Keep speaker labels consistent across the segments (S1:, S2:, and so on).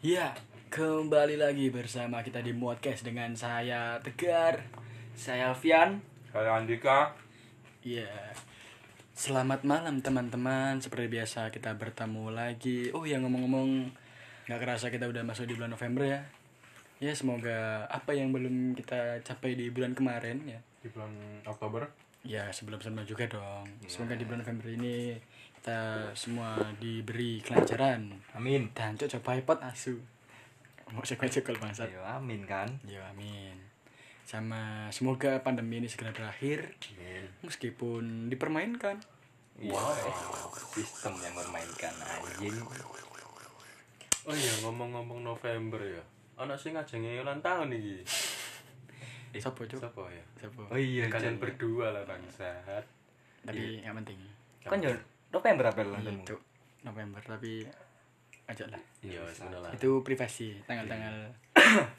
S1: Ya, kembali lagi bersama kita di podcast dengan saya Tegar, saya Alfian.
S2: Saya Andika.
S1: Ya, selamat malam teman-teman. Seperti biasa kita bertemu lagi. Oh ya ngomong-ngomong, nggak kerasa kita udah masuk di bulan November ya. Ya semoga apa yang belum kita capai di bulan kemarin ya.
S2: Di bulan Oktober.
S1: Ya sebelum-sebelum juga dong. Semoga di bulan November ini kita semua diberi kelancaran
S3: Amin.
S1: dan cocok pipot asu. Mau sekol-sekol bangsat.
S3: Ayo amin kan.
S1: Ya amin. Sama semoga pandemi ini segera berakhir
S3: Amin.
S1: meskipun dipermainkan.
S3: Wow. Sistem yang memainkan anjing.
S2: Oh iya ngomong-ngomong November ya. Ana sing ngajenge ulang tahun iki.
S1: Sopo cuk?
S2: Siapa ya?
S1: Sopo?
S3: Eh, Oh iya
S2: Kalian
S3: Jon.
S2: berdua lah bangsat.
S1: Tapi nggak penting.
S3: Kan Jon, November apa lu
S1: Iya,
S3: nontonmu?
S1: Cuk. November tapi ajaklah.
S2: Iya, sebenarnya.
S1: Itu privasi tanggal-tanggal.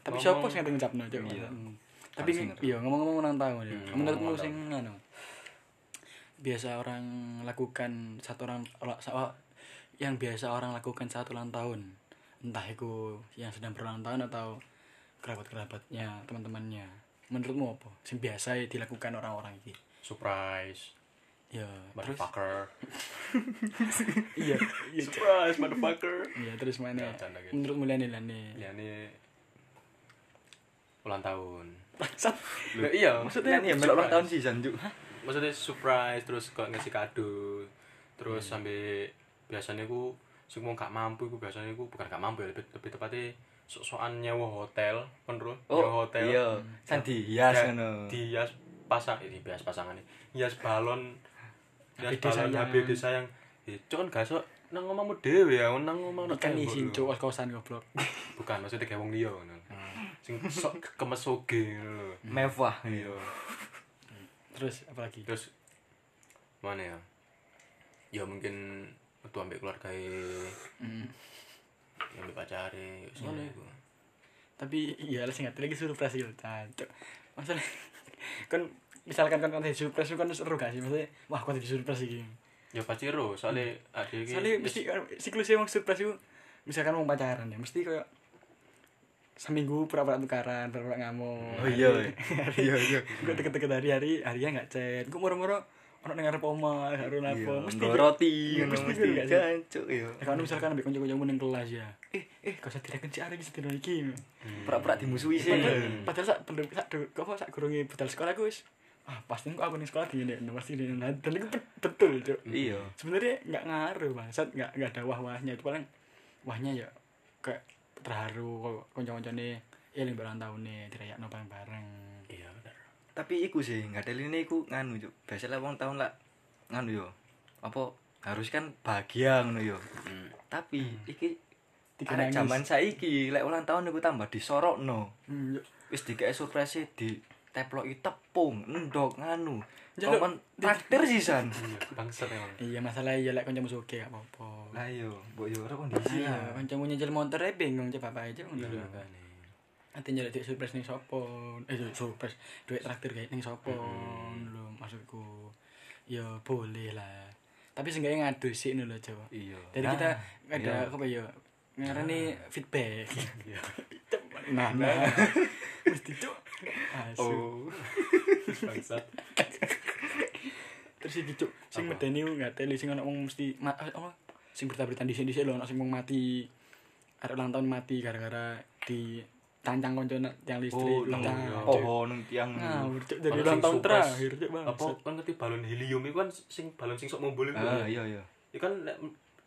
S1: tapi
S2: Ngomong-
S1: siapa sing ngucapno cuk? Hmm. Tapi
S3: Harus ngerti.
S1: iya ngomong-ngomong ulang tahun ya.
S2: Hmm,
S1: Menurutmu
S2: ngomong ulang
S1: sing anu? Biasa orang lakukan satu orang ola- sa- yang biasa orang lakukan saat ulang tahun. Entah itu yang sedang berulang tahun atau kerabat-kerabatnya, teman-temannya. Menurutmu apa? Sing biasa dilakukan orang-orang ini.
S2: Surprise.
S1: Ya, terus
S2: Motherfucker.
S1: iya, iya. Cuk.
S2: Surprise motherfucker. Iya.
S1: Iya, terus mana?
S2: Ya, canda gitu.
S1: Menurutmu Lani Lani.
S2: Liane ulang tahun.
S1: Bangsat.
S2: Loh, iya,
S3: Maksudnya ini ya melok ulang tahun sih Janju.
S2: maksudnya surprise terus kok ngasih kado terus sampai biasanya ku sing wong gak mampu ku biasanya ku bukan gak mampu ya, lebih, lebih tepatnya sok-sokan nyewa hotel penro nyewa hotel
S3: Oh, iya. San dihias
S2: Ya,
S3: ngono.
S2: dihias pasang ini bias pasangan ini hias balon hias
S1: HBD
S2: balon
S1: sayang.
S2: HBD sayang itu kan gak sok nang ngomongmu dewe ya nang ngomong
S1: Ikan isin cuk, kosan goblok.
S2: bukan maksudnya kayak wong liya ngono sing sok kemesoge ngono lho.
S3: Mewah.
S2: iya
S1: Terus apalagi?
S2: terus mana ya ya mungkin metu ambek keluarga
S1: Hmm.
S2: ambek pacare wis ngono iku
S1: Tapi iya lah sing ngerti lagi surprise gitu. Cuk. Masalah kan misalkan kan kan surprise itu kan seru gak sih maksudnya wah kok jadi surprise iki.
S2: ya pasti ro soalnya ada iki
S1: Soalnya
S2: wis-
S1: mesti siklusnya emang surprise itu misalkan mau pacaran ya mesti kayak seminggu pura-pura tukaran, pura-pura ngamuk.
S3: Oh iya. iya. Iya iya.
S1: Gue deket-deket hari-hari, harinya nggak chat. Gue moro-moro orang dengar poma, harus apa, mesti
S3: Nggo roti
S1: Iya,
S3: ngono
S1: mesti
S3: mesti
S1: nggak sih?
S3: Janju ya.
S1: Ya, kalau misalkan ambil kunci-kunci ning kelas ya. Eh, eh, kau usah direken si Ari bisa tidur iki.
S2: Hmm.
S3: Pura-pura dimusuhi sih.
S1: Padahal padahal sak belum sak du- kok apa, sak gurunge budal sekolah aku wis. Ah, pasti kok aku ning sekolah gini, nah, pasti ini nah, dan itu bet- betul, Cuk.
S3: Iya.
S1: Sebenarnya enggak ngaruh, bangsat, enggak enggak ada wah-wahnya. Itu paling wahnya ya kayak terharu kok kanca-kancane ya ning barang taune dirayakno bareng-bareng.
S2: iya bener
S3: Tapi iku sih ngadeline iku nganu Jon. Biasalah wong tahun lah nganu yo. Apa harus kan bahagia ngono yo. Tapi iki
S1: Tiga
S3: Anak zaman
S1: nangis.
S3: saiki lek ulang tahun iku tambah disorokno.
S1: Hmm, yuk.
S3: Wis dikeke surprise di teploki tepung, endok nganu.
S1: Jaluk-
S3: Komen traktir sisan.
S2: iya bangsat emang
S1: Iya, masalah ya lek kancamu suke gak apa-apa.
S3: Lah yo, mbok yo ora kondisi
S1: Iya,
S3: ya.
S1: kancamu nyicil motor e bingung coba bae, Cuk.
S2: Iya,
S1: Ngono.
S2: makane.
S1: Nanti nyari duit surprise ning sopo Eh duit surprise Duit traktir kayak ning sopo lho maksudku Ya boleh lah Tapi seenggaknya ngadu sih ini lho Jawa
S3: Iya.
S1: Jadi
S3: Nah,
S1: kita ada
S3: iya.
S1: apa ya Ngarani feedback
S2: Iya.
S1: Nah, nah Mesti cuk Ah, Asu
S2: oh bangsat
S1: Terus iki cuk Sing
S2: Apa?
S1: medeni ku nggak teli Sing anak wong mesti ma- eh, apa? Sing berita-berita disini-disini lho anak sing wong mati Arek ulang tahun mati gara-gara di tancang konco nak- tiang
S3: oh,
S1: listrik
S3: nang
S1: Nah,
S2: iya.
S1: Cuk.
S3: pohon nang tiang.
S1: Ngawur cuk dari
S2: Ono
S1: ulang
S2: sing
S1: tahun
S2: surprise.
S1: terakhir cuk bang.
S2: apa kan ngerti balon helium itu kan sing balon sing sok mumbul itu ya.
S3: Ah, iya iya.
S2: Iku kan lek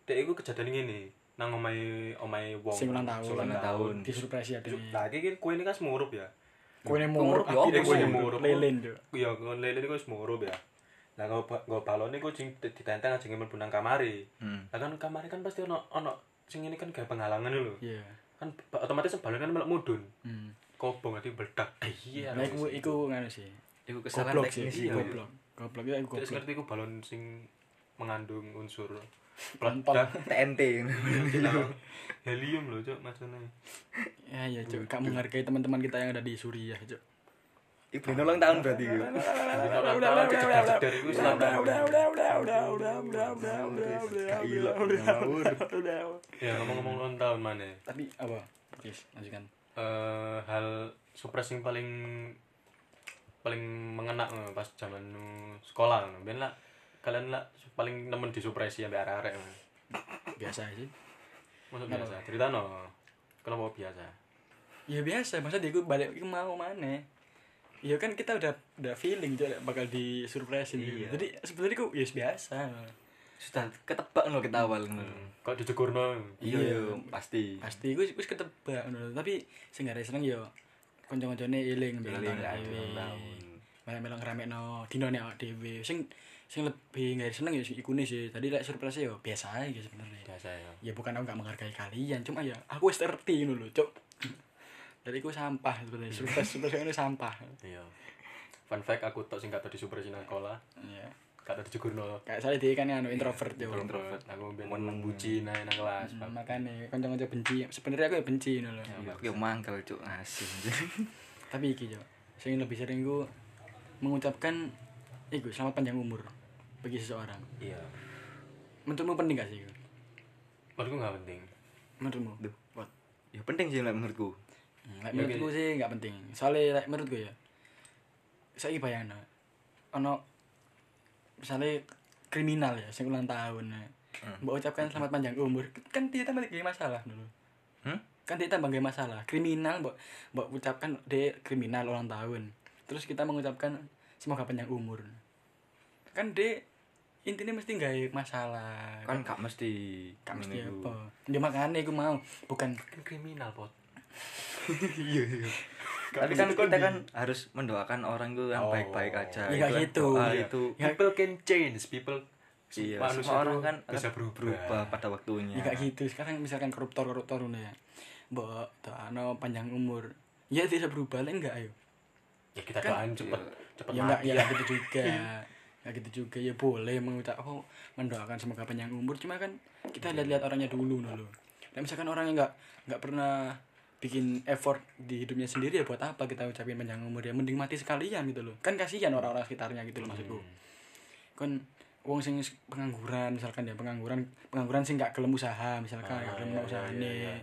S2: dek iku kejadian ngene nang omahe omahe wong
S1: Sing ulang tahun.
S2: Sing ulang
S3: Ulang
S2: tahun.
S1: Di surprise ya dene.
S2: Lah iki kan kue ini kan semurup ya.
S1: Kowe ne
S3: Kumurup
S1: muruk
S3: ya,
S1: akhirnya
S3: apa
S1: kowe
S3: sih?
S1: muruk lelen cuk.
S2: Ya kon lele iku wis murup ya. Lah nggo nggo balone iku sing di- ditenteng aja mlebu nang kamare.
S3: Hmm.
S2: Lah kan kamare kan pasti ono ono sing ini kan gak penghalangan lho.
S1: Iya.
S2: Kan ba- otomatis balon kan melok mudun.
S1: Hmm.
S2: Kobong ati meledak. Iya.
S1: Lah iku iku ngono sih.
S3: Iku kesalahan
S1: Goblok sih,
S3: teknis
S1: iya,
S3: ya.
S1: goblok. Goblok ya iku
S2: Terus
S1: goblok.
S2: ngerti iku balon sing mengandung unsur
S1: Nonton.
S2: peledak
S3: TNT.
S2: helium lho cok macane.
S1: Ya ya cuk, gak menghargai teman-teman kita yang ada di Suriah cuk.
S3: Ibu Nino ulang tahun berarti iku.
S2: Udah, udah, udah, udah, udah, udah, udah,
S3: Gak ilok, ngawur.
S2: Ya ngomong-ngomong ulang tahun mana?
S1: Tapi apa? Yes, lanjutkan.
S2: Eh, hal surprise yang paling paling mengena eh, pas zaman nu sekolah ngono. Biyen lah kalian lah paling nemen di surprise ya mbak arek-arek. ngono.
S1: Biasa aja.
S2: Masuk biasa. Cerita no. Kenapa biasa?
S1: Ya biasa, masa dia gue balik gue mau mana? Ya kan kita udah udah feeling juga bakal di surprise
S3: Iya.
S1: Jadi sebenarnya gue yes biasa.
S3: Sudah ketebak ngono kita awal ngono.
S2: Kok dijegurno?
S3: Hmm. Iya, iya, pasti.
S1: Pasti gue wis ketebak ngono. Tapi sing gak ada seneng ya yo kanca-kancane eling mbek
S3: Eling,
S1: ulang tahun
S3: eling,
S1: dhewe.
S3: ulang tahun.
S1: Melok-melok ngramekno dinane awake dhewe. Sing sing lebih gak ada seneng ya sing ikune sih. Tadi lek surprise yo biasa aja sebenarnya.
S2: Biasa ya.
S1: ya bukan aku gak menghargai kalian cuma ya aku wis ngerti ngono lho cok jadi aku sampah sebenarnya surprise surprise ini sampah
S2: Iya. Fun fact aku tok sing gak tau di surprise nang sekolah.
S3: Iya.
S1: ya
S2: Gak tau dijegurno.
S1: kayak saya dia kan anu introvert yo
S2: Introvert. Aku biyen bucin ae nang kelas.
S1: Hmm, makanya kanca-kanca benci sebenarnya aku ya benci ngono lho
S3: Iya, Aku yang mangkel cuk asin.
S1: tapi iki yo sing lebih sering ku mengucapkan iku selamat panjang umur bagi seseorang
S2: Iya.
S1: menurutmu penting gak sih iku
S2: Menurutku gak penting.
S1: menurutmu
S3: Duh.
S1: What?
S3: Ya penting sih lek menurutku.
S1: Hmm,
S3: Iya,
S1: like, menurutku sih nggak penting soalnya like, menurutku ya saya bayang no ono misalnya kriminal ya sing ulang tahun ya. mbok ucapkan selamat panjang umur kan dia tambah gaya masalah dulu
S3: Hmm?
S1: kan dia tambah gaya masalah kriminal mbok mbok ucapkan dia kriminal ulang tahun terus kita mengucapkan semoga panjang umur kan dia intinya mesti nggak masalah
S3: Kan gak mesti
S1: kan mesti
S3: ngono iku.
S1: apa dia makanya aku mau bukan
S2: Kan kriminal, Pot.
S3: Tapi kan kita kan harus mendoakan orang itu
S2: Oh.
S3: yang baik-baik aja.
S1: Ya,
S3: Itu
S1: kayak gitu.
S3: doa
S1: Iya.
S3: itu.
S1: Ya.
S2: People can change, people
S3: Iya,
S2: manusia
S3: semua
S2: tuh
S3: orang kan
S2: bisa
S3: akan
S2: berubah. Iya,
S3: pada waktunya.
S1: Ya kayak gitu. Sekarang misalkan koruptor-koruptor ngono ya. Mbok doano panjang umur. Ya bisa berubah lah enggak ayo.
S2: Ya kita doain cepet cepet
S1: Kan Ya enggak
S2: mati.
S1: ya enggak gitu juga.
S2: Iya.
S1: Enggak gitu juga ya boleh mengucap oh, mendoakan semoga panjang umur cuma kan kita lihat-lihat orangnya dulu no loh. Nah, misalkan orang yang enggak enggak pernah bikin effort di hidupnya sendiri ya buat apa kita ucapin panjang umur ya mending mati sekalian gitu loh. Kan kasihan orang-orang sekitarnya gitu loh maksudku.
S2: Hmm.
S1: kan wong sing pengangguran misalkan ya pengangguran pengangguran sing gak gelem usaha misalkan
S2: Ah,
S1: gak gelem
S2: iya,
S1: usaha
S2: iya, iya, iya.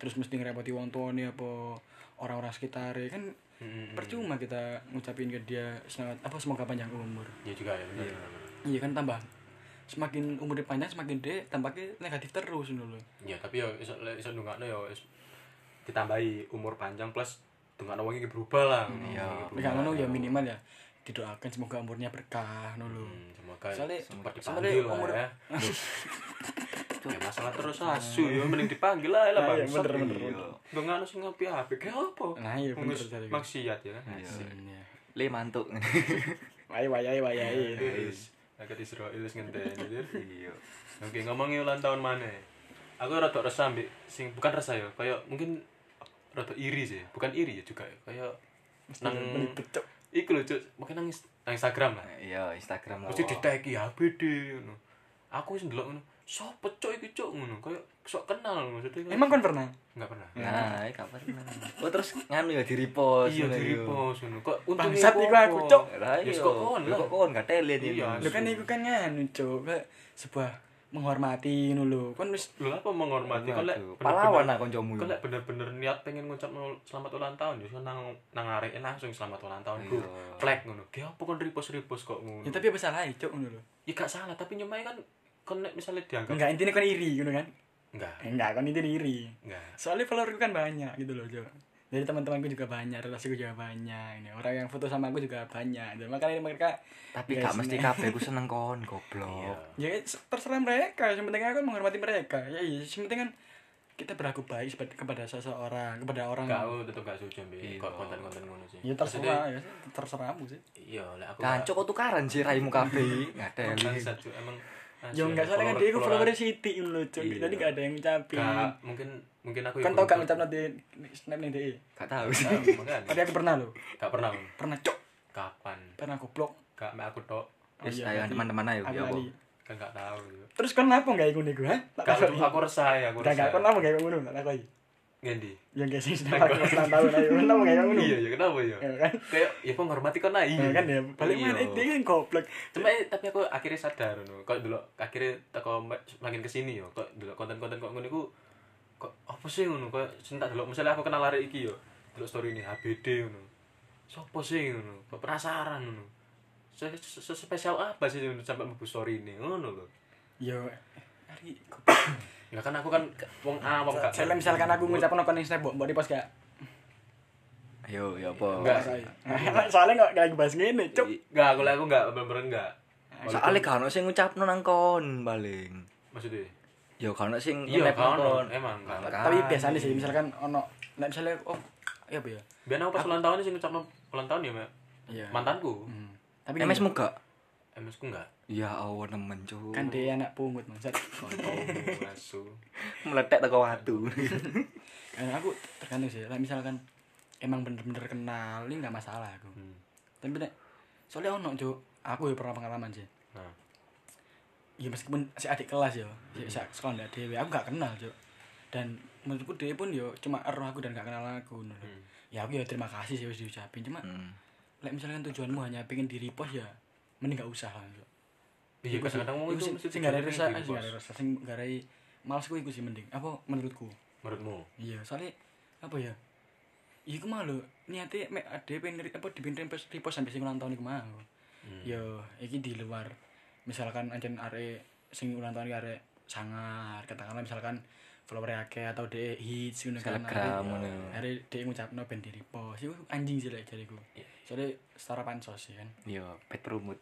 S1: terus mesti ngerepoti wong tuane apa orang-orang sekitar kan
S2: Mm-mm.
S1: percuma kita ngucapin ke dia selamat apa semoga panjang umur
S2: Ya juga ya benar.
S1: iya kan tambah semakin umurnya panjang semakin dia tampaknya negatif terus dulu
S2: Ya tapi ya iso le- iso ndongakno ya is- ditambahi umur panjang plus ndongakno wong iki berubah Mm, lah.
S3: Iya.
S1: Mm, nggak ngono ya minimal ya didoakan semoga umurnya berkah dulu
S2: Hmm, Semoga
S1: Soalnya-
S2: cepat
S1: soalnya
S2: dipanggil lah
S1: umur-
S2: ya. Ya masalah terus asu ya mending dipanggil lah lah
S1: Nah, iya,
S2: bangsat.
S1: bener, bener,
S2: Iya.
S1: bener.
S2: Ndongakno sing ngopi HP ke apa?
S1: Nah, iya, bener,
S2: Wis
S1: bener.
S2: Maksiat ya.
S3: Iya.
S1: Iya.
S3: Le mantuk.
S1: Wayai wayai wayai.
S2: Wis. Agak Israel wis ngenteni. Dir.
S3: Iya.
S2: Oke, ngomongin ulang tahun mana? Aku rada resah mbek sing bukan resah ya, kayak mungkin rada iri sih, bukan iri ya juga ya, kayak nang
S1: Belibet, Cok.
S2: iku lho, Cuk, mungkin nang, Inst- nang Instagram lah.
S3: Iya, Instagram
S2: Mesti
S3: lah.
S2: ditagi HBD ngono. Aku wis ndelok ngono, sopo cuk iki cuk ngono, kayak sok kenal maksudnya. kayak-
S1: Emang kan pernah?
S2: enggak pernah.
S3: Nah, iya, gak pernah. Oh, terus nganu ya di repost.
S2: Iya,
S3: ngono
S2: di
S3: iku.
S2: repost ngono. Kok untungnya
S1: Bangsat
S2: apa?
S1: iku aku, Cuk.
S3: Lah
S2: Ya,
S3: iya.
S2: kok kon
S3: Lah,
S2: lah.
S3: Kok kon gak telen ini.
S2: Iya.
S1: Lo kan itu kan nganu cok Kayak sebuah menghormati ngono lho. Kan wis
S2: Lho apa menghormati kok lek
S3: Aduh,
S2: bener-bener-
S3: Pahlawan lah
S1: Iya.
S3: koncomu.
S2: Kau lek bener-bener niat pengen ngucap selamat ulang tahun, justru nang nang areke langsung selamat ulang tahun bro.
S3: Iya.
S2: Flag ngono. Ki apa kon repost-repost kok ngono?
S1: ya tapi apa salahnya cok ngono lho.
S2: ya gak salah, tapi nyemai kan kon nek misale dianggap
S1: Enggak intinya kan iri ngono kan?
S2: enggak.
S1: Enggak, kan intinya iri.
S2: Enggak.
S1: Soalnya followerku kan banyak gitu loh, Cok. Jadi teman-temanku juga banyak, relasiku juga banyak. Ini orang yang foto sama aku juga banyak. Dan makanya mereka
S3: Tapi
S1: Guys,
S3: gak mesti
S1: nih.
S3: kabeh ku seneng kon,
S2: Iya.
S3: goblok.
S1: ya terserah mereka yang penting aku menghormati mereka ya iya yang penting kan kita berlaku baik sebe- kepada seseorang kepada orang
S2: Enggak, aku tetep gak setuju mbek
S3: Iya.
S2: kok konten-konten ngono sih.
S1: ya
S2: Maksudnya,
S1: terserah ya terserahmu sih
S2: Iya, lek aku
S3: Kancuk kok tukaran sih raimu kabeh. Gak
S2: Emang
S3: telen.
S2: bangsat, Cuk. emang
S1: ya
S2: asli,
S1: enggak soalnya kan dia
S2: follower-
S1: itu followernya Siti loh cok
S3: Iya.
S1: jadi gak ada yang ngucapin
S2: Gak, mungkin mungkin
S1: kan tau
S2: aku
S1: gak
S2: beruntung.
S1: ngucap nanti snap nih DE
S3: Gak tahu sih.
S2: Nah, makanya.
S1: tapi aku pernah loh
S2: Gak pernah. Om.
S1: pernah cok
S2: Kapan?
S1: pernah goblok
S2: Gak mek aku tok.
S3: Wis
S1: Oh Iya,
S3: ayo
S1: berarti
S3: teman-teman ayo
S1: aku
S3: ya apa.
S1: lali.
S2: Kan gak tahu. Cuk.
S1: terus kan apa gak ikut nih gue
S2: Gak aku resah ya, aku
S1: gak gak
S2: resah.
S1: kan apa gak ikut nih gak takoi
S2: ngendi?
S1: yang gak sih dapat ulang tahun ayo kenapa kayak ngono
S2: Iya, ya kenapa ya?
S1: Ya kan
S2: Kayak ya kok menghormati kok nah
S1: Ya
S2: iya.
S1: kan ya balik
S2: Iya.
S1: mana dia kan goblok
S2: Cuma eh, tapi aku akhirnya sadar no. Kok dulu akhirnya teko ma- makin kesini yo. Kok dulu konten-konten kok ngono iku kok apa sih ngono? Kok sentak dulu misalnya aku kenal arek iki yo. Dulu story ini HBD ngono. Sopo sih ngono? Kok penasaran ngono. Se se- se- spesial apa sih ngono sampai mlebu story ini ngono lho.
S1: yo hari goblok.
S2: Ya kan aku kan wong awam gak.
S1: Soalnya misalkan aku ngucapin nonton Instagram mbok mbok di post gak
S3: Ayo, ya apa?
S2: Enggak.
S1: soalnya gak gak bahas ngene cuk
S2: Enggak, aku aku enggak bener-bener enggak.
S3: Soale gak ono sing ngucapno nang kon paling.
S2: Maksudnya?
S3: Ya gak ono sing
S2: Iya,
S3: nge-map nang
S2: gak ono.
S3: kon.
S2: Emang, gak ono.
S1: tapi biasanya sih misalkan ono nek misalnya oh ya apa ya
S2: Biar aku pas ulang tahun sih ngucapno ulang tahun ya, Mbak.
S1: Iya.
S2: Mantanku.
S1: Hmm. tapi
S3: MS
S1: kan,
S3: mu gak?
S2: MS ku enggak.
S3: Ya Allah nemen cu.
S1: kan dia anak pungut maksud
S2: Oh, asu.
S3: meletek teko watu.
S1: Eh, aku tergantung sih lah misalkan emang bener-bener kenal ini nggak masalah aku
S2: Hmm.
S1: tapi nek soalnya ono cuk aku ya pernah pengalaman sih
S2: Nah,
S1: ya meskipun si adik kelas yo
S2: Hmm.
S1: si si sekolah ndak dewe aku gak kenal cuk dan menurutku dia pun yo cuma ero aku dan gak kenal aku ngono lho.
S2: Hmm.
S1: ya aku ya terima kasih sih wis diucapin cuma
S3: Hmm.
S1: lek misalkan tujuanmu hanya pengen di repost ya mending gak usah lah cuk
S2: iya kadang-kadang wong
S1: Iku
S2: itu
S1: sing-
S2: mesti
S1: sing gak ada
S2: dijodohin
S1: rasa
S2: gitu,
S1: eh, sing gak ada
S2: Bos.
S1: rasa sing gak ada males ku iku sih mending apa menurutku
S2: Menurutmu?
S1: iya soalnya apa ya iku mah lho niate mek ade pengen ri- apa dipin repost repost sampai sing ulang tahun iku mah yo iki di luar misalkan ancen arek sing ulang tahun iki arek sangar katakanlah misalkan follower e akeh atau de hits ngono kan
S3: Selebgram,
S1: Arek-
S3: ngono.
S1: arek de ngucapno ben di repost iku anjing sih lek jariku soalnya setara pansos ya kan
S3: Yo, pet perumut.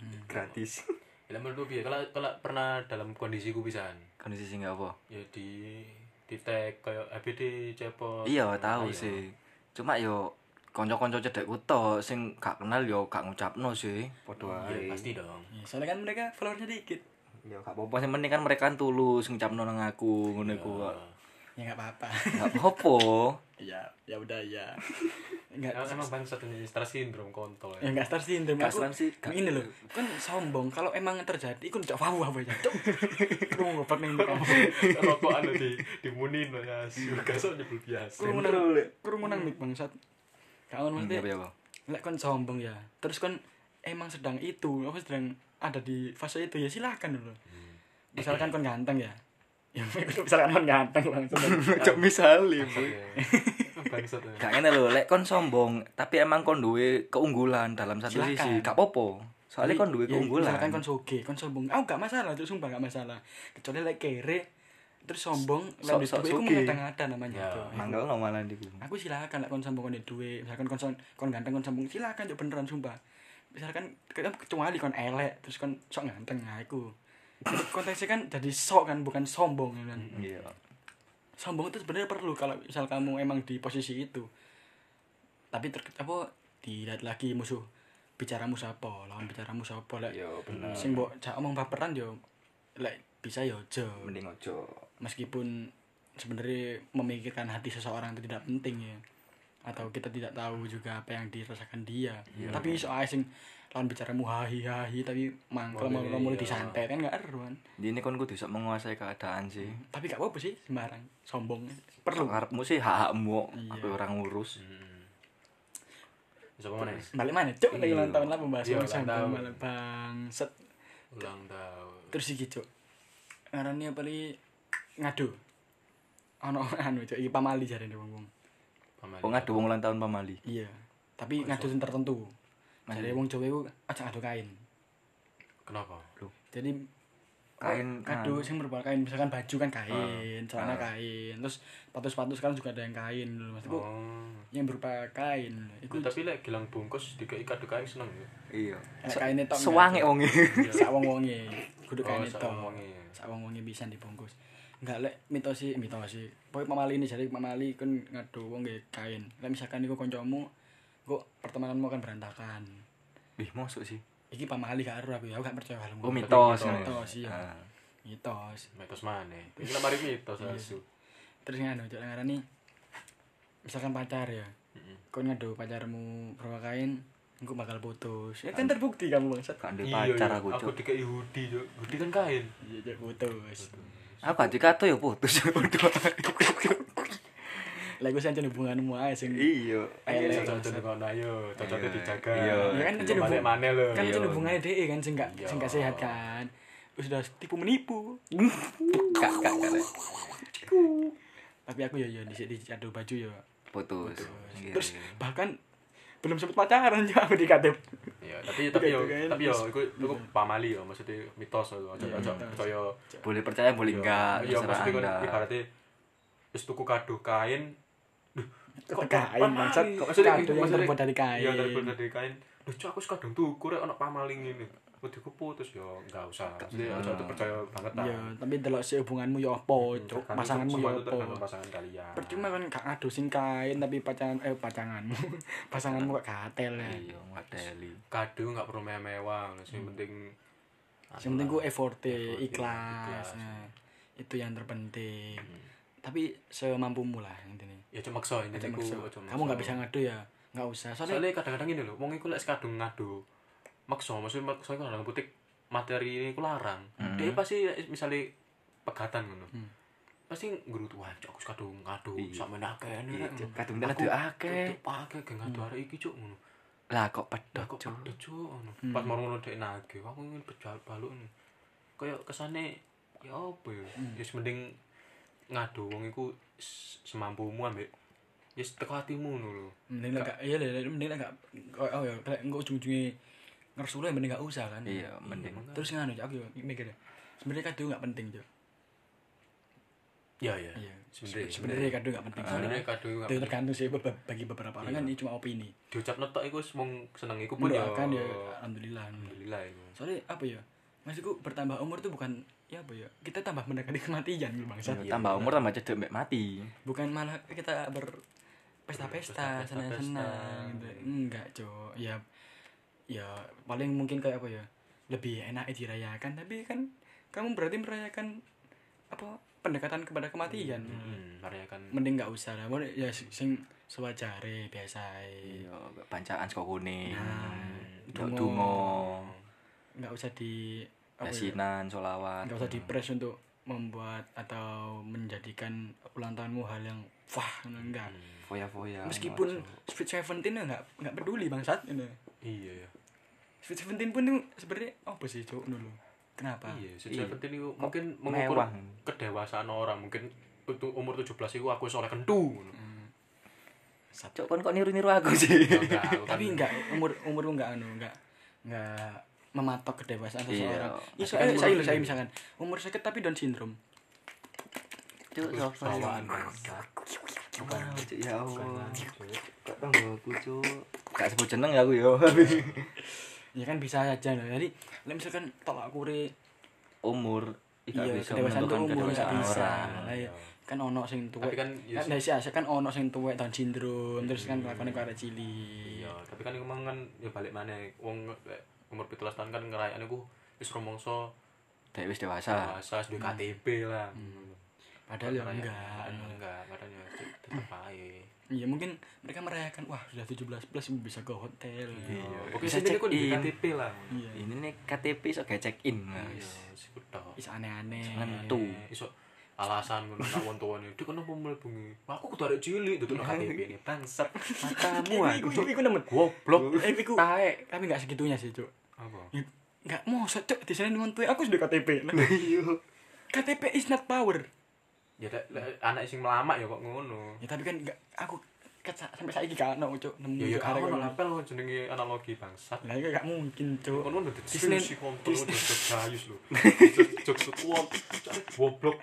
S3: Hmm. Gratis.
S2: Ya menurutku piye? Kalau kalau pernah dalam kondisiku pisan.
S3: Kondisi sing gak apa?
S2: Ya di di tag kayak ABD cepot.
S3: Iya, tahu sih. Cuma yo kanca-kanca cedekku tok sing gak kenal yo gak ngucapno sih. Padha
S2: Iya, pasti dong.
S1: Iya, soalnya kan mereka followernya dikit
S3: Yo gak apa-apa sing penting kan mereka kan tulus ngucapno nang aku ngono iku. kok.
S1: ya nggak apa-apa
S3: Gak apa-apa.
S1: ya ya udah ya nggak
S2: Emang emang bangsat ini stres syndrome kontol.
S1: ya nggak star syndrome
S3: Nggak
S1: aku
S3: star sih, nggak.
S1: ini loh kan sombong kalau emang terjadi ikut cok wow apa ya cok aku mau ngopat nih kamu
S2: Rokokan lo anu di dimunin lo ya. asu. Gasok nyebul biasa.
S1: kerumunan kerumunan mik bangsat kawan
S3: Ya apa
S1: mesti
S3: ya apa?
S1: lek kon sombong ya terus kon emang sedang itu apa sedang ada di fase itu ya silahkan dulu
S3: Hmm.
S1: misalkan kon ganteng ya ya misalkan kon ganteng langsung
S3: Cok misale.
S2: Iya. Bangsat. ya.
S3: Gak ngene lho, lek kon sombong, tapi emang kon duwe keunggulan dalam satu
S1: Silakan.
S3: sisi. Gak apa-apa. Soalnya kon duwe
S1: Ya,
S3: keunggulan.
S1: misalkan kon soge kon sombong aku gak masalah cok sumpah gak masalah kecuali lek kere terus sombong
S3: Sok-
S1: lek
S3: sok
S1: duwe iku
S3: soge.
S1: mengada-ngada namanya
S2: Ya,
S1: Cok.
S3: Mangga lo malah diku.
S1: aku silakan lah kon sombong kon duwe misalkan kon son- kon ganteng kon sombong silakan cok beneran sumpah misalkan kan kecuali kon elek terus kon sok ganteng nah iku konteksnya kan jadi sok kan bukan sombong ya kan
S3: Iya.
S1: sombong itu sebenarnya perlu kalau misal kamu emang di posisi itu tapi ter apa dilihat lagi musuh bicaramu siapa lawan bicaramu siapa lek
S3: Yo bener.
S1: sing mbok cak omong baperan yo lek bisa yo aja
S3: Mending ojo.
S1: meskipun sebenarnya memikirkan hati seseorang itu tidak penting ya atau kita tidak tahu juga apa yang dirasakan dia tapi iso ae sing lawan bicaramu hahi hahi tapi mangkel
S2: Mulai,
S1: mau mulai
S2: iya.
S1: disantet kan gak eruan
S3: Ini kon kudu sok menguasai keadaan sih.
S1: tapi gak apa-apa sih sembarang sombong
S3: Perlu
S1: perlu
S3: karepmu sih hak-hakmu,
S1: Iya.
S3: aku orang ngurus.
S2: Hmm. Siapa mana?
S1: balik mana cuk lagi
S3: Iya.
S1: ulang tahun lah pembahasan
S2: Iya,
S1: yang
S2: ulang
S1: sombong
S2: tahun.
S1: malah bangset
S2: Ulang tahun.
S1: terus iki cuk ngarani apa li ngadu ono anu cuk iki pamali jarene wong-wong
S2: Paman.
S3: Oh ngadu wong ulang tahun pamali.
S1: iya tapi ngadu sing tertentu jare wong Jawa iku aja ngadu kain
S2: Kenapa?
S1: jadi
S3: Kain Ah,
S1: ngadu
S3: anu.
S1: sing berupa kain misalkan baju kan kain celana kain terus sepatu-sepatu sekarang juga ada yang kain lho maksudku
S2: Oh.
S1: yang berupa kain iku
S2: tapi lek gelang bungkus dikai kado kain seneng ya.
S3: Iya.
S1: enak kainnya tok enggak,
S3: Sewange
S1: Cuk?
S3: wonge.
S1: Iya, sak wong-wonge kudu
S2: Oh,
S1: kain
S2: sak
S1: tok
S2: wong-wonge.
S1: sak wong-wonge pisan dibungkus enggak lek mitosi mitosi pokoke pamali ini jadi pamali kan ngadu wong nggih kain lek misalkan iku kancamu kok pertemananmu akan berantakan
S3: Ih, mosok sih.
S1: iki pamali gak ero aku ya aku gak percaya hal
S3: Oh mitos.
S2: mitos,
S3: ngono.
S1: iya.
S3: Ah.
S1: mitos
S2: Mitos mana? Ini lah mari mitos asu.
S1: terus nganu cok ngarani misalkan pacar ya kau ngadu pacarmu berapa kain engko bakal putus ya kan terbukti kamu bangsat
S3: Gak ndek pacar aku,
S2: Aku
S3: Cuk.
S2: dikai hoodie, Cuk. Hoodie kan kain.
S1: iya Cuk, putus
S3: Ah, Aku gak dikato ya putus. Waduh.
S1: Lah iku sing hubunganmu ae sing
S3: Iya.
S1: Ayo,
S2: Ayo
S1: ayo.
S2: cocok di kono ayo, cocoknya
S3: Ayo,
S2: dijaga.
S3: iya.
S1: Ya kan, cocok
S2: Jangan
S1: di-
S2: mana-mana lho.
S1: kan itu
S3: Iya.
S1: hubungannya deh kan sing gak
S2: Iya.
S1: sing gak sehat kan. Terus udah tipu menipu.
S3: Kak kak kak.
S1: Tapi aku ya ya di di adu baju ya.
S3: Putus. Iya,
S1: Terus
S3: iya.
S1: bahkan belum sempet pacaran ya aku dikatep.
S2: Iya, tapi tapi yo
S1: Gitu kan.
S2: tapi yo iku iku pamali yo maksudnya mitos lho, ojo
S1: Iya,
S2: ojo
S1: mitos.
S2: percaya.
S3: boleh percaya boleh enggak
S2: Iya,
S3: terserah
S2: maksudnya
S3: anda
S2: kan ibaratnya wis tuku kado kain
S1: Kok kain bangsat kok kado yang terbuat dari
S2: Iya, terbuat
S1: kain.
S2: dari kain. Duh, cok aku kadung tuku rek ono pamali ngene. Udiku putus yo, enggak usah. Maksudnya ojo
S3: Hmm.
S2: percaya banget lah.
S1: Ya, tapi delok si hubunganmu ya apa, oh, cuk.
S2: Hmm, Tergantung-
S1: Pasanganmu
S2: semua
S1: ya
S2: itu tergantung
S1: apa.
S2: pasangan kalian.
S1: Percuma kan gak ngadu sing kain tapi pacangan eh pacanganmu. Pasanganmu kok gatel ya.
S3: iya ngadeli
S2: kado nggak perlu mewah-mewah, sing penting
S1: Yang Hmm. penting gue effort
S2: Effort,
S1: ikhlas.
S2: ikhlas.
S1: Nah, itu yang terpenting. Tapi semampumu lah intinya.
S2: ya cuma maksa ini
S1: Jangan
S2: iku,
S1: maksa.
S2: ojo
S1: Kamu
S2: maksa.
S1: nggak bisa ngadu ya, nggak usah. Soalnya
S2: soalnya kadang-kadang gini loh wong iku lek sekadung ngadu maksa maksudnya maksa iku dalam putik materi ini iku larang
S1: Hmm.
S2: dia pasti misalnya pegatan ngono pasti ngerutu wah cok aku sekadung ngadu
S1: Iya.
S2: sampe nakeh ini rek."
S3: Cuk, kadung tak
S2: Aku
S3: ngadu akeh.
S2: tetep akeh geng ngadu
S1: Hmm.
S2: arek iki cok ngono
S3: lah kok
S2: Lah,
S3: pedot
S2: kok
S3: Cuk.
S2: pedes cok ngono
S1: Hmm.
S2: pas mau ngono dek nagih aku ingin bejal baluk ngono. kayak kesane ya apa ya
S1: Hmm.
S2: Yes, mending ngadu wong iku s- semampumu ambek Yes, teko hatimu ngono lho.
S1: mending lah nggak- iya lah, lah, mending lah nggak oh, oh ya, kayak nggak ujung-ujungnya ngersul ya mending nggak usah kan.
S3: Iya, mending.
S1: Terus nganu Cok, aku ya mikir ya. Sebenarnya kado nggak penting Cok.
S2: Ya ya.
S1: Iya.
S2: Sebenarnya
S1: Sebenarnya kado nggak penting.
S2: sebenarnya kado iku nggak
S1: Itu tergantung sih beba- bagi beberapa orang kan ini cuma opini.
S2: diucap netok iku wis mung seneng iku pun ya.
S3: Iya.
S1: Mendoakan ya, alhamdulillah.
S2: alhamdulillah iku.
S1: Soalnya apa ya? Maksudku bertambah umur tuh bukan ya apa ya? Kita tambah mendekati kematian bangsa.
S3: Iya, tambah umur tambah cedek mek mati
S1: bukan malah kita berpesta-pesta
S2: Berpesta-pesta,
S1: senang-senang gitu enggak cok ya ya paling mungkin kayak apa ya lebih enak dirayakan tapi kan kamu berarti merayakan apa pendekatan kepada kematian
S3: Iya.
S2: Hmm, merayakan
S1: mending nggak usah lah Mending ya sing- sing sewajare biasa
S3: iya bancaan saka kuning
S1: Nah,
S3: ndok
S1: dungo.
S3: donga
S1: nggak usah di apa ya,
S3: yasinan sholawat
S1: nggak usah di press untuk membuat atau menjadikan ulang tahunmu hal yang wah enggak
S3: foya-foya
S1: meskipun Sweet Seventeen ya nggak nggak peduli bangsat ini
S2: iya ya.
S1: Sweet Seventeen pun tuh sebenarnya apa sih cok dulu kenapa
S2: Iya,
S3: Iya.
S2: secara penting iku mungkin mengukur
S3: mewah.
S2: kedewasaan orang mungkin untuk umur 17 iku aku soleh kentu ngono.
S1: Sat-
S3: Cuk, kon kok niru-niru aku sih
S2: Ya, enggak, aku kan-
S1: tapi nggak umur umur lu nggak anu nggak nggak mematok kedewasaan
S3: Iya.
S1: seseorang iya
S3: Kan
S1: soalnya
S3: umur
S1: saya
S3: ini.
S1: saya misalkan umur sakit tapi Down syndrome
S3: Cuk, sapa ya?
S2: bawaan bangsat.
S3: Bukan, Cuk, ya Allah kok tanggo aku Cuk. gak sebut jeneng ya aku yo
S1: ya kan bisa aja loh jadi lah misalkan tolak kure
S3: umur
S1: iya
S3: Gak bisa
S1: kedewasaan tuh
S3: menentukan
S1: umur nggak
S3: kedewasaan
S1: bisa
S3: orang.
S1: Lah, iya. kan ono sing tuwek
S2: Tapi kan, iya
S1: kan
S2: sih. Hmm.
S1: dari Asia kan ono sing tuwek Down syndrome terus kan kelakuannya kayak arek cilik
S2: Iya, tapi kan iku mang kan ya balik maneh wong eh, umur 17 tahun kan ngerayakane iku wis rumangsa
S3: Dek wis dewasa
S2: dewasa, wis duwe KTP lah.
S1: padahal ya
S2: Ngerayak-
S1: enggak
S2: Hmm, enggak, padahal ya cek, tetep ae.
S1: Iya mungkin mereka merayakan wah sudah 17 plus bisa ke hotel.
S2: Iya, pokoknya
S3: Bisa
S2: sini
S3: check
S2: aku di
S3: in.
S2: KTP lah.
S1: Iya.
S3: ini nih KTP sok kayak check in
S2: Iya,
S3: guys
S2: sikut tok.
S1: Is aneh-aneh.
S3: Ngentu.
S2: Eh, Iso alasan ngono nak wong tuane. Dik kenapa mlebungi? Aku kudu arek cilik duduk nang KTP ini bangsat. Matamu
S1: Wah,
S2: aku.
S1: iku iku nemen.
S2: Goblok.
S1: Eh, iku
S3: taek
S1: tapi enggak segitunya sih, Cuk.
S2: Apa?
S1: Enggak mau cuk di sana dengan tuh aku sudah KTP. Nah, KTP is not power.
S2: Ya lek- lek anak sing melamak ya kok ngono.
S1: Ya tapi kan enggak aku ket- sampai saiki gak ono, Cuk. Nemu
S2: Ya ya
S1: karek Iya,
S2: aku
S1: ngono.
S2: nak apel kok jenenge analogi bangsat.
S1: Lah iku gak mungkin, Cuk.
S2: Kono udah
S1: Disney-
S2: diskusi kontol udah gayus lho. Jok sekuat. Goblok.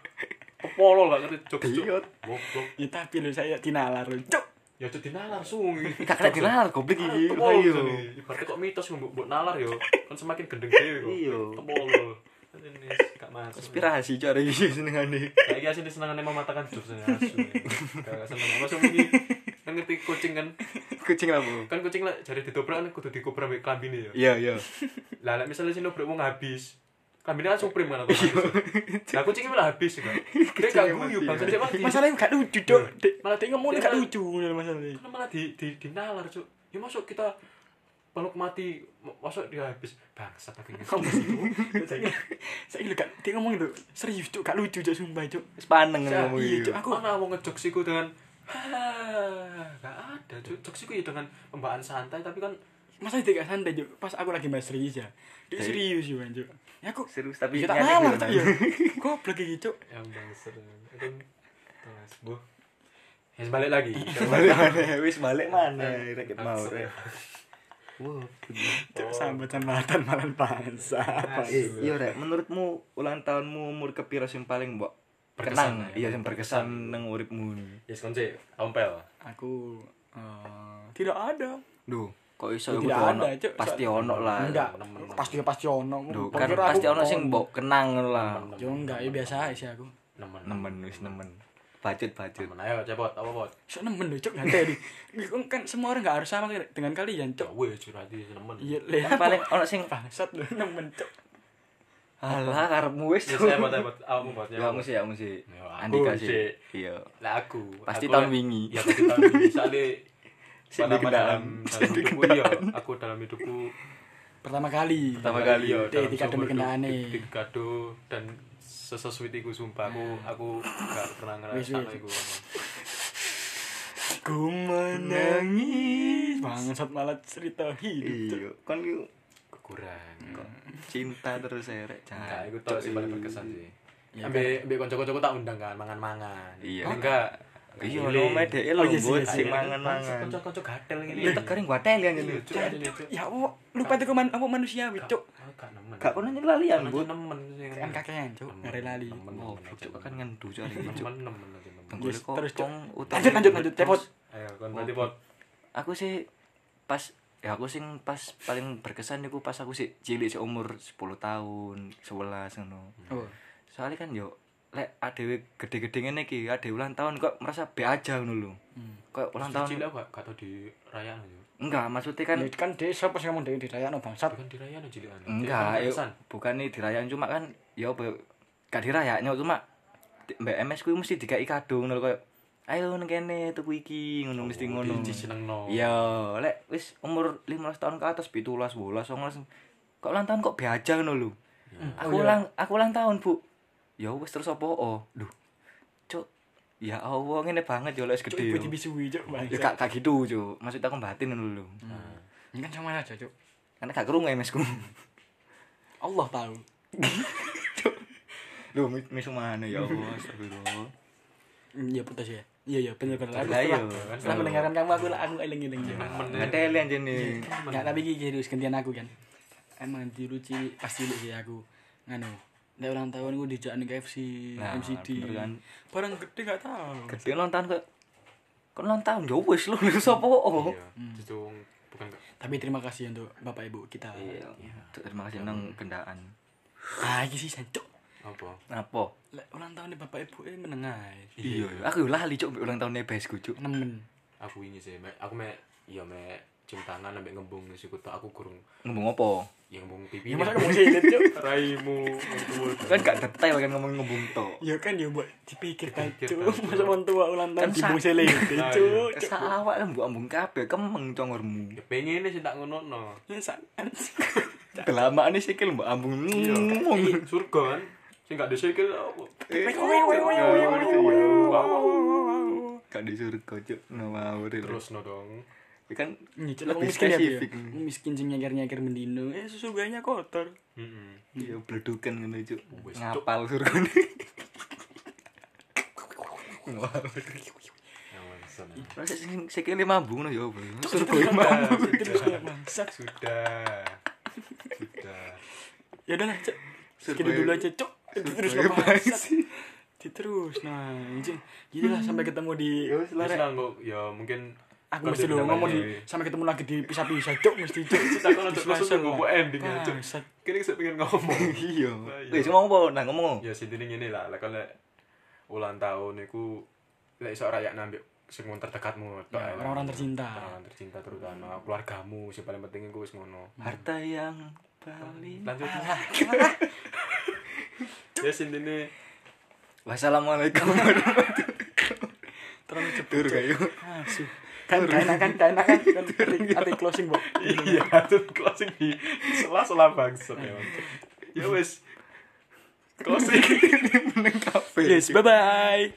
S2: Kepolo lah ngerti jok.
S3: Idiot.
S2: Goblok.
S1: Ya tapi lu saya dinalar, lho, Cuk.
S2: Ya jadi nalar sungi.
S3: Gak kena dinalar goblok
S1: Ah,
S3: iki.
S2: Tepol
S3: Ayo.
S2: jane. Ibaratnya kok mitos mbok mbok nalar yo. Kan semakin gendeng dhewe kok.
S3: Iya.
S2: Tepol lho. Kan Ini gak masuk. iya
S3: Konspirasi cok arek iki senengane.
S2: Kayak asli senengane mematakan jok saya asu. Gak seneng apa sih ini. Kan ngerti kucing kan.
S3: Kucing apa?
S2: Kan kucing lah jari didobrak kan kudu dikobrak mbek klambine ya.
S3: Iya, iya.
S2: Lah lek misale sing nobrak wong habis. Kambine kan supreme kan otomatis. Lah kucingnya malah habis kan. Dia gak
S3: Kucingnya
S2: guyu
S3: Iya. mati.
S2: bangsa dia mati.
S1: Masalahnya gak lucu, Cuk. Dek- Malah dia ngomong gak lucu ngono masalahnya.
S2: Kan malah di di dinalar, Cuk. Ya masuk kita peluk mati, masuk dia habis. Bangsa tapi ngomong sih.
S1: Saya gak dia ngomong itu serius, Cuk. Gak lucu, Cuk, sumpah, Cuk.
S3: Wis paneng
S2: Sa-
S3: ngomong
S1: iya,
S3: iki.
S1: Cuk.
S2: Aku ana wong ngejok siku dengan Hahaha, nggak ada cuk jokes itu ya dengan pembawaan santai tapi kan
S1: masa tidak santai Cuk? pas aku lagi bahas serius ya dia
S3: Jadi-
S1: serius juga Cuk. ya aku
S3: serius tapi
S1: ya tak nalar Cuk,
S3: nyadek gitu, Mas.
S1: ya goblok iki Cuk.
S2: yang bangser kan Mas Bu Ya, balik lagi.
S3: balik mana wis balik mana rek Ya, mau
S2: Bangser.
S3: rek wow
S1: Cuk,
S3: Oh.
S1: sambat-sambatan malah bangsa
S3: Eh, iya rek menurutmu ulang tahunmu umur kepira sing paling mbok kenang
S2: Berkesan, ya?
S3: iya sing berkesan nang uripmu
S2: Yes, konce, ompel.
S1: aku eh, tidak ada
S3: Duh, kok iso
S1: Tidak
S3: kudu ono?
S1: ada, Cuk.
S3: Pasti ono lah.
S1: enggak
S2: temen-temen.
S1: pasti pasti ono
S3: Duh,
S1: Kok
S3: kan
S1: kira aku
S3: pasti ono sing
S1: kon-
S3: mbok kenang ngono lah.
S1: Yo enggak, ya biasa aja sih aku.
S2: Nemen.
S3: Nemen wis nemen. Bacot-bacot.
S2: Nemen ayo cepot apa bot?
S1: So nemen loh, Cuk, nanti di. Kan semua orang enggak harus sama dengan kalian,
S2: Ya
S1: Cuk.
S2: weh curhat di nemen.
S1: Iya, leh.
S3: Kan paling ono sing
S1: bangsat loh nemen, Cuk. Ah,
S3: alah karepmu wis.
S2: Ya saya bot bot awakmu bot.
S3: Ya kamu sih, kamu sih.
S2: Ya, aku
S3: Andi
S2: sih.
S3: kasih. Iya.
S2: Lah aku.
S3: Pasti
S2: aku
S3: tahun
S2: lah-
S3: wingi.
S2: Ya pasti tahun wingi. Soale
S3: Sing
S2: pertama
S3: digendaan.
S2: dalam dalam hidupku iya, aku dalam hidupku
S1: Pertama kali.
S3: Pertama kali.
S1: Teh,
S2: iya, oh, dalam
S1: tiga demi
S2: seumur
S1: kendaane.
S2: hidup, tiga kado dan sesesuiti ku sumpah aku aku gak pernah
S1: Wis,
S2: ngerasa
S1: wis.
S2: iku.
S1: Ku menangis. Bangsat malah cerita hidup. Cuk.
S3: Iya, kan iku
S2: Kekurangan.
S3: cinta terus saya rek.
S2: Enggak,
S3: Jangan.
S2: itu tok sih paling berkesan sih.
S1: Iya,
S2: Ambil ambil kanca-kancaku tak undang kan mangan-mangan.
S3: Iya.
S2: Enggak.
S3: Iya, lo medeke
S1: Oh,
S3: lo
S1: iya sih,
S3: buat
S1: iya sih.
S3: sing mangan-mangan.
S2: Kanca-kanca kan gatel ngene. Iya,
S3: Lu tak kering gua teli anjir.
S2: Cuk,
S1: Ya,
S2: cuk,
S1: Cuk,
S2: cuk.
S1: Ya, Allah, lupa tuh keman apa manusia, Cuk.
S2: Gak nemen.
S3: Gak kono nyelalian, Bu.
S2: nemen sih.
S1: Kan kakean, Cuk. Ngare lali.
S2: Nemen,
S3: Oh,
S2: nemen,
S3: cuk
S2: nemen.
S3: kan ngendu cuk arek iki, cuk.
S2: Nemen nemen aja, nemen.
S3: Tenggolek
S1: Yes,
S3: kok
S1: terus, Cuk.
S3: pong utang.
S1: Lanjut lanjut lanjut, cepot.
S2: Ayo kon berarti pot.
S3: aku sih pas ya aku sing pas paling berkesan niku pas aku sih cilik sih umur 10 tahun 11 ngono.
S1: Oh.
S3: Soalnya kan yo lek adewe gede-gede ngene iki, ade ulang tahun kok merasa be aja ngono lho. Kok
S2: Tahun
S3: ulang tahun
S2: Hmm. cilik gak gak tau dirayakan aja.
S3: enggak maksudnya kan
S1: Ya, kan desa pas ngomong dewe dirayakno bangsat.
S2: Bukan dirayakan cilikan.
S3: enggak yo
S2: Berkesan.
S3: bukan nih dirayain cuma kan yo gak dirayaknya cuma di- Mbak MS kuwi mesti dikai kado ngono lho, koyo ayo nang kene tuku iki
S2: Oh,
S3: ngono mesti
S1: Oh.
S3: ngono.
S2: Dijenengno.
S3: Iya, lek wis umur 15 tahun ke atas 17, 18, 19 kok ulang tahun kok biaja ngono lho. Hmm, Aku
S1: Oh, iya.
S3: ulang aku ulang tahun, Bu. Ya wis terus apa? Oh, lho. Cuk, ya Allah ngene banget yo lek wis
S1: Cuk,
S3: gede.
S1: ibu
S3: yo.
S1: dibisui, Cuk,
S3: Ya
S1: bangsat.
S3: kak kak gitu, Cuk. Maksud aku batin ngono lho.
S2: Nah,
S1: Ini kan sama aja, Cuk.
S3: Karena gak kerungu MS ku.
S1: Allah tahu.
S3: Lho, mis- misu mana ya Allah, astagfirullah.
S1: Iya putus ya. Iya iya bener bener. Aku
S3: Lah,
S1: setelah,
S3: iya.
S1: setelah mendengarkan kamu aku aku eling eling ya.
S3: Ngeteli anjir nih.
S1: Enggak tapi iki serius gantian aku kan. Emang dulu cilik pas cilik sih aku nganu. Nek ulang tahun aku dijak ning KFC,
S3: Nah,
S1: MCD.
S3: bener kan.
S1: Barang gede gak tahu.
S3: Gede ulang tahun kok kok ulang tahun ya wis lho lho sapa? Oh.
S2: Iya. Itu bukan gak
S1: Tapi terima kasih untuk Bapak Ibu kita.
S3: Iya. Cuk, Terima kasih nang gendaan.
S1: Ah iki sih jancuk.
S2: apa.
S3: Apa?
S1: Lek ulang tahun Bapak Ibu eh menengah.
S3: Iya, iya. aku yo lali cuk mbek ulang tahunnya besku cuk.
S1: Nemen.
S2: Aku ini sih, me, aku me iya me cium tangan ambek ngembung sih kutu aku kurung
S3: Ngomong apa?
S2: ya ngembung pipi.
S1: Ya
S3: Iya.
S1: masa kamu sih cuk.
S2: raimu untuk
S3: Kan gak detail kan ngomong ngomong to.
S1: Ya kan ya buat dipikir kan
S2: Dipikir,
S1: cuk.
S2: Cuk.
S1: Masa wong tua ulang tahun
S3: Kan
S1: dibung
S3: sakit.
S1: selih
S2: Nah, iya.
S1: cuk. Cuk.
S3: Sawak kan mbok ambung kabeh kemeng congormu.
S2: Ya pengen sih tak ngono no.
S1: Ya sakit.
S3: Kelamaan sih sikil mbok ambung ngomong.
S2: Surga kan, sih gak disikil apa.
S3: Gak disuruh kocok ngawur. Terus
S2: Terus no dong.
S3: Ya kan
S1: Nyicil
S3: lebih
S1: miskin ya,
S3: spesifik.
S1: Bi, ya. Miskin sing nyaker-nyaker mendino, eh surganya kotor.
S2: Heeh.
S3: Iya bledukan ngono Oh, cuk.
S2: Wes, Cuk.
S3: Ngapal surgane. Ngawur.
S2: Ya wes, nah.
S3: Terus sing sikile mambung no ya. Surga
S2: Sudah,
S3: mambung.
S1: Terus
S2: sudah.
S1: bangsat.
S2: Sudah. Sudah.
S1: Ya udah lah, Cuk. Sekian
S3: Surabaya-
S1: dulu aja, Cuk. Terus
S3: Surabaya
S1: bangsat. Terus nah, anjing. Gitu lah sampai ketemu di
S3: Ya wis lah
S2: Wis
S3: Rek.
S2: lah kok ya mungkin
S1: Aku mesti dulu ngomong di sampai ketemu lagi di pisah-pisah, Cuk, mesti Cuk.
S2: Kita kan untuk
S1: Diselasan,
S2: langsung ngomong
S1: lah.
S2: ending ya, Cuk.
S1: Bangsat.
S2: Kini saya pengen ngomong.
S3: Iya.
S2: Nah, iya.
S3: Wis ngomong apa? Nah ngomong. apa?
S2: ya sintine ngene lah lek lek ulang tahun iku lek iso rayak nambik sing wong terdekatmu tok
S1: Ya,
S2: ae lah.
S1: orang-orang tercinta.
S2: orang tercinta terutama keluargamu sing paling penting iku wis ngono
S3: Harta yang paling
S2: lanjut ya sintine
S3: Wassalamualaikum warahmatullahi
S1: Terlalu cepet.
S3: Tur kayu.
S2: gitu.
S1: Asu. Kan gak enakan, gak enakan. Kan ati- ati closing, Bok.
S2: iya tuh closing di sela-sela bangsa ya Cuk. ya wis closing
S3: Meneng kafe.
S1: Yes, bye-bye.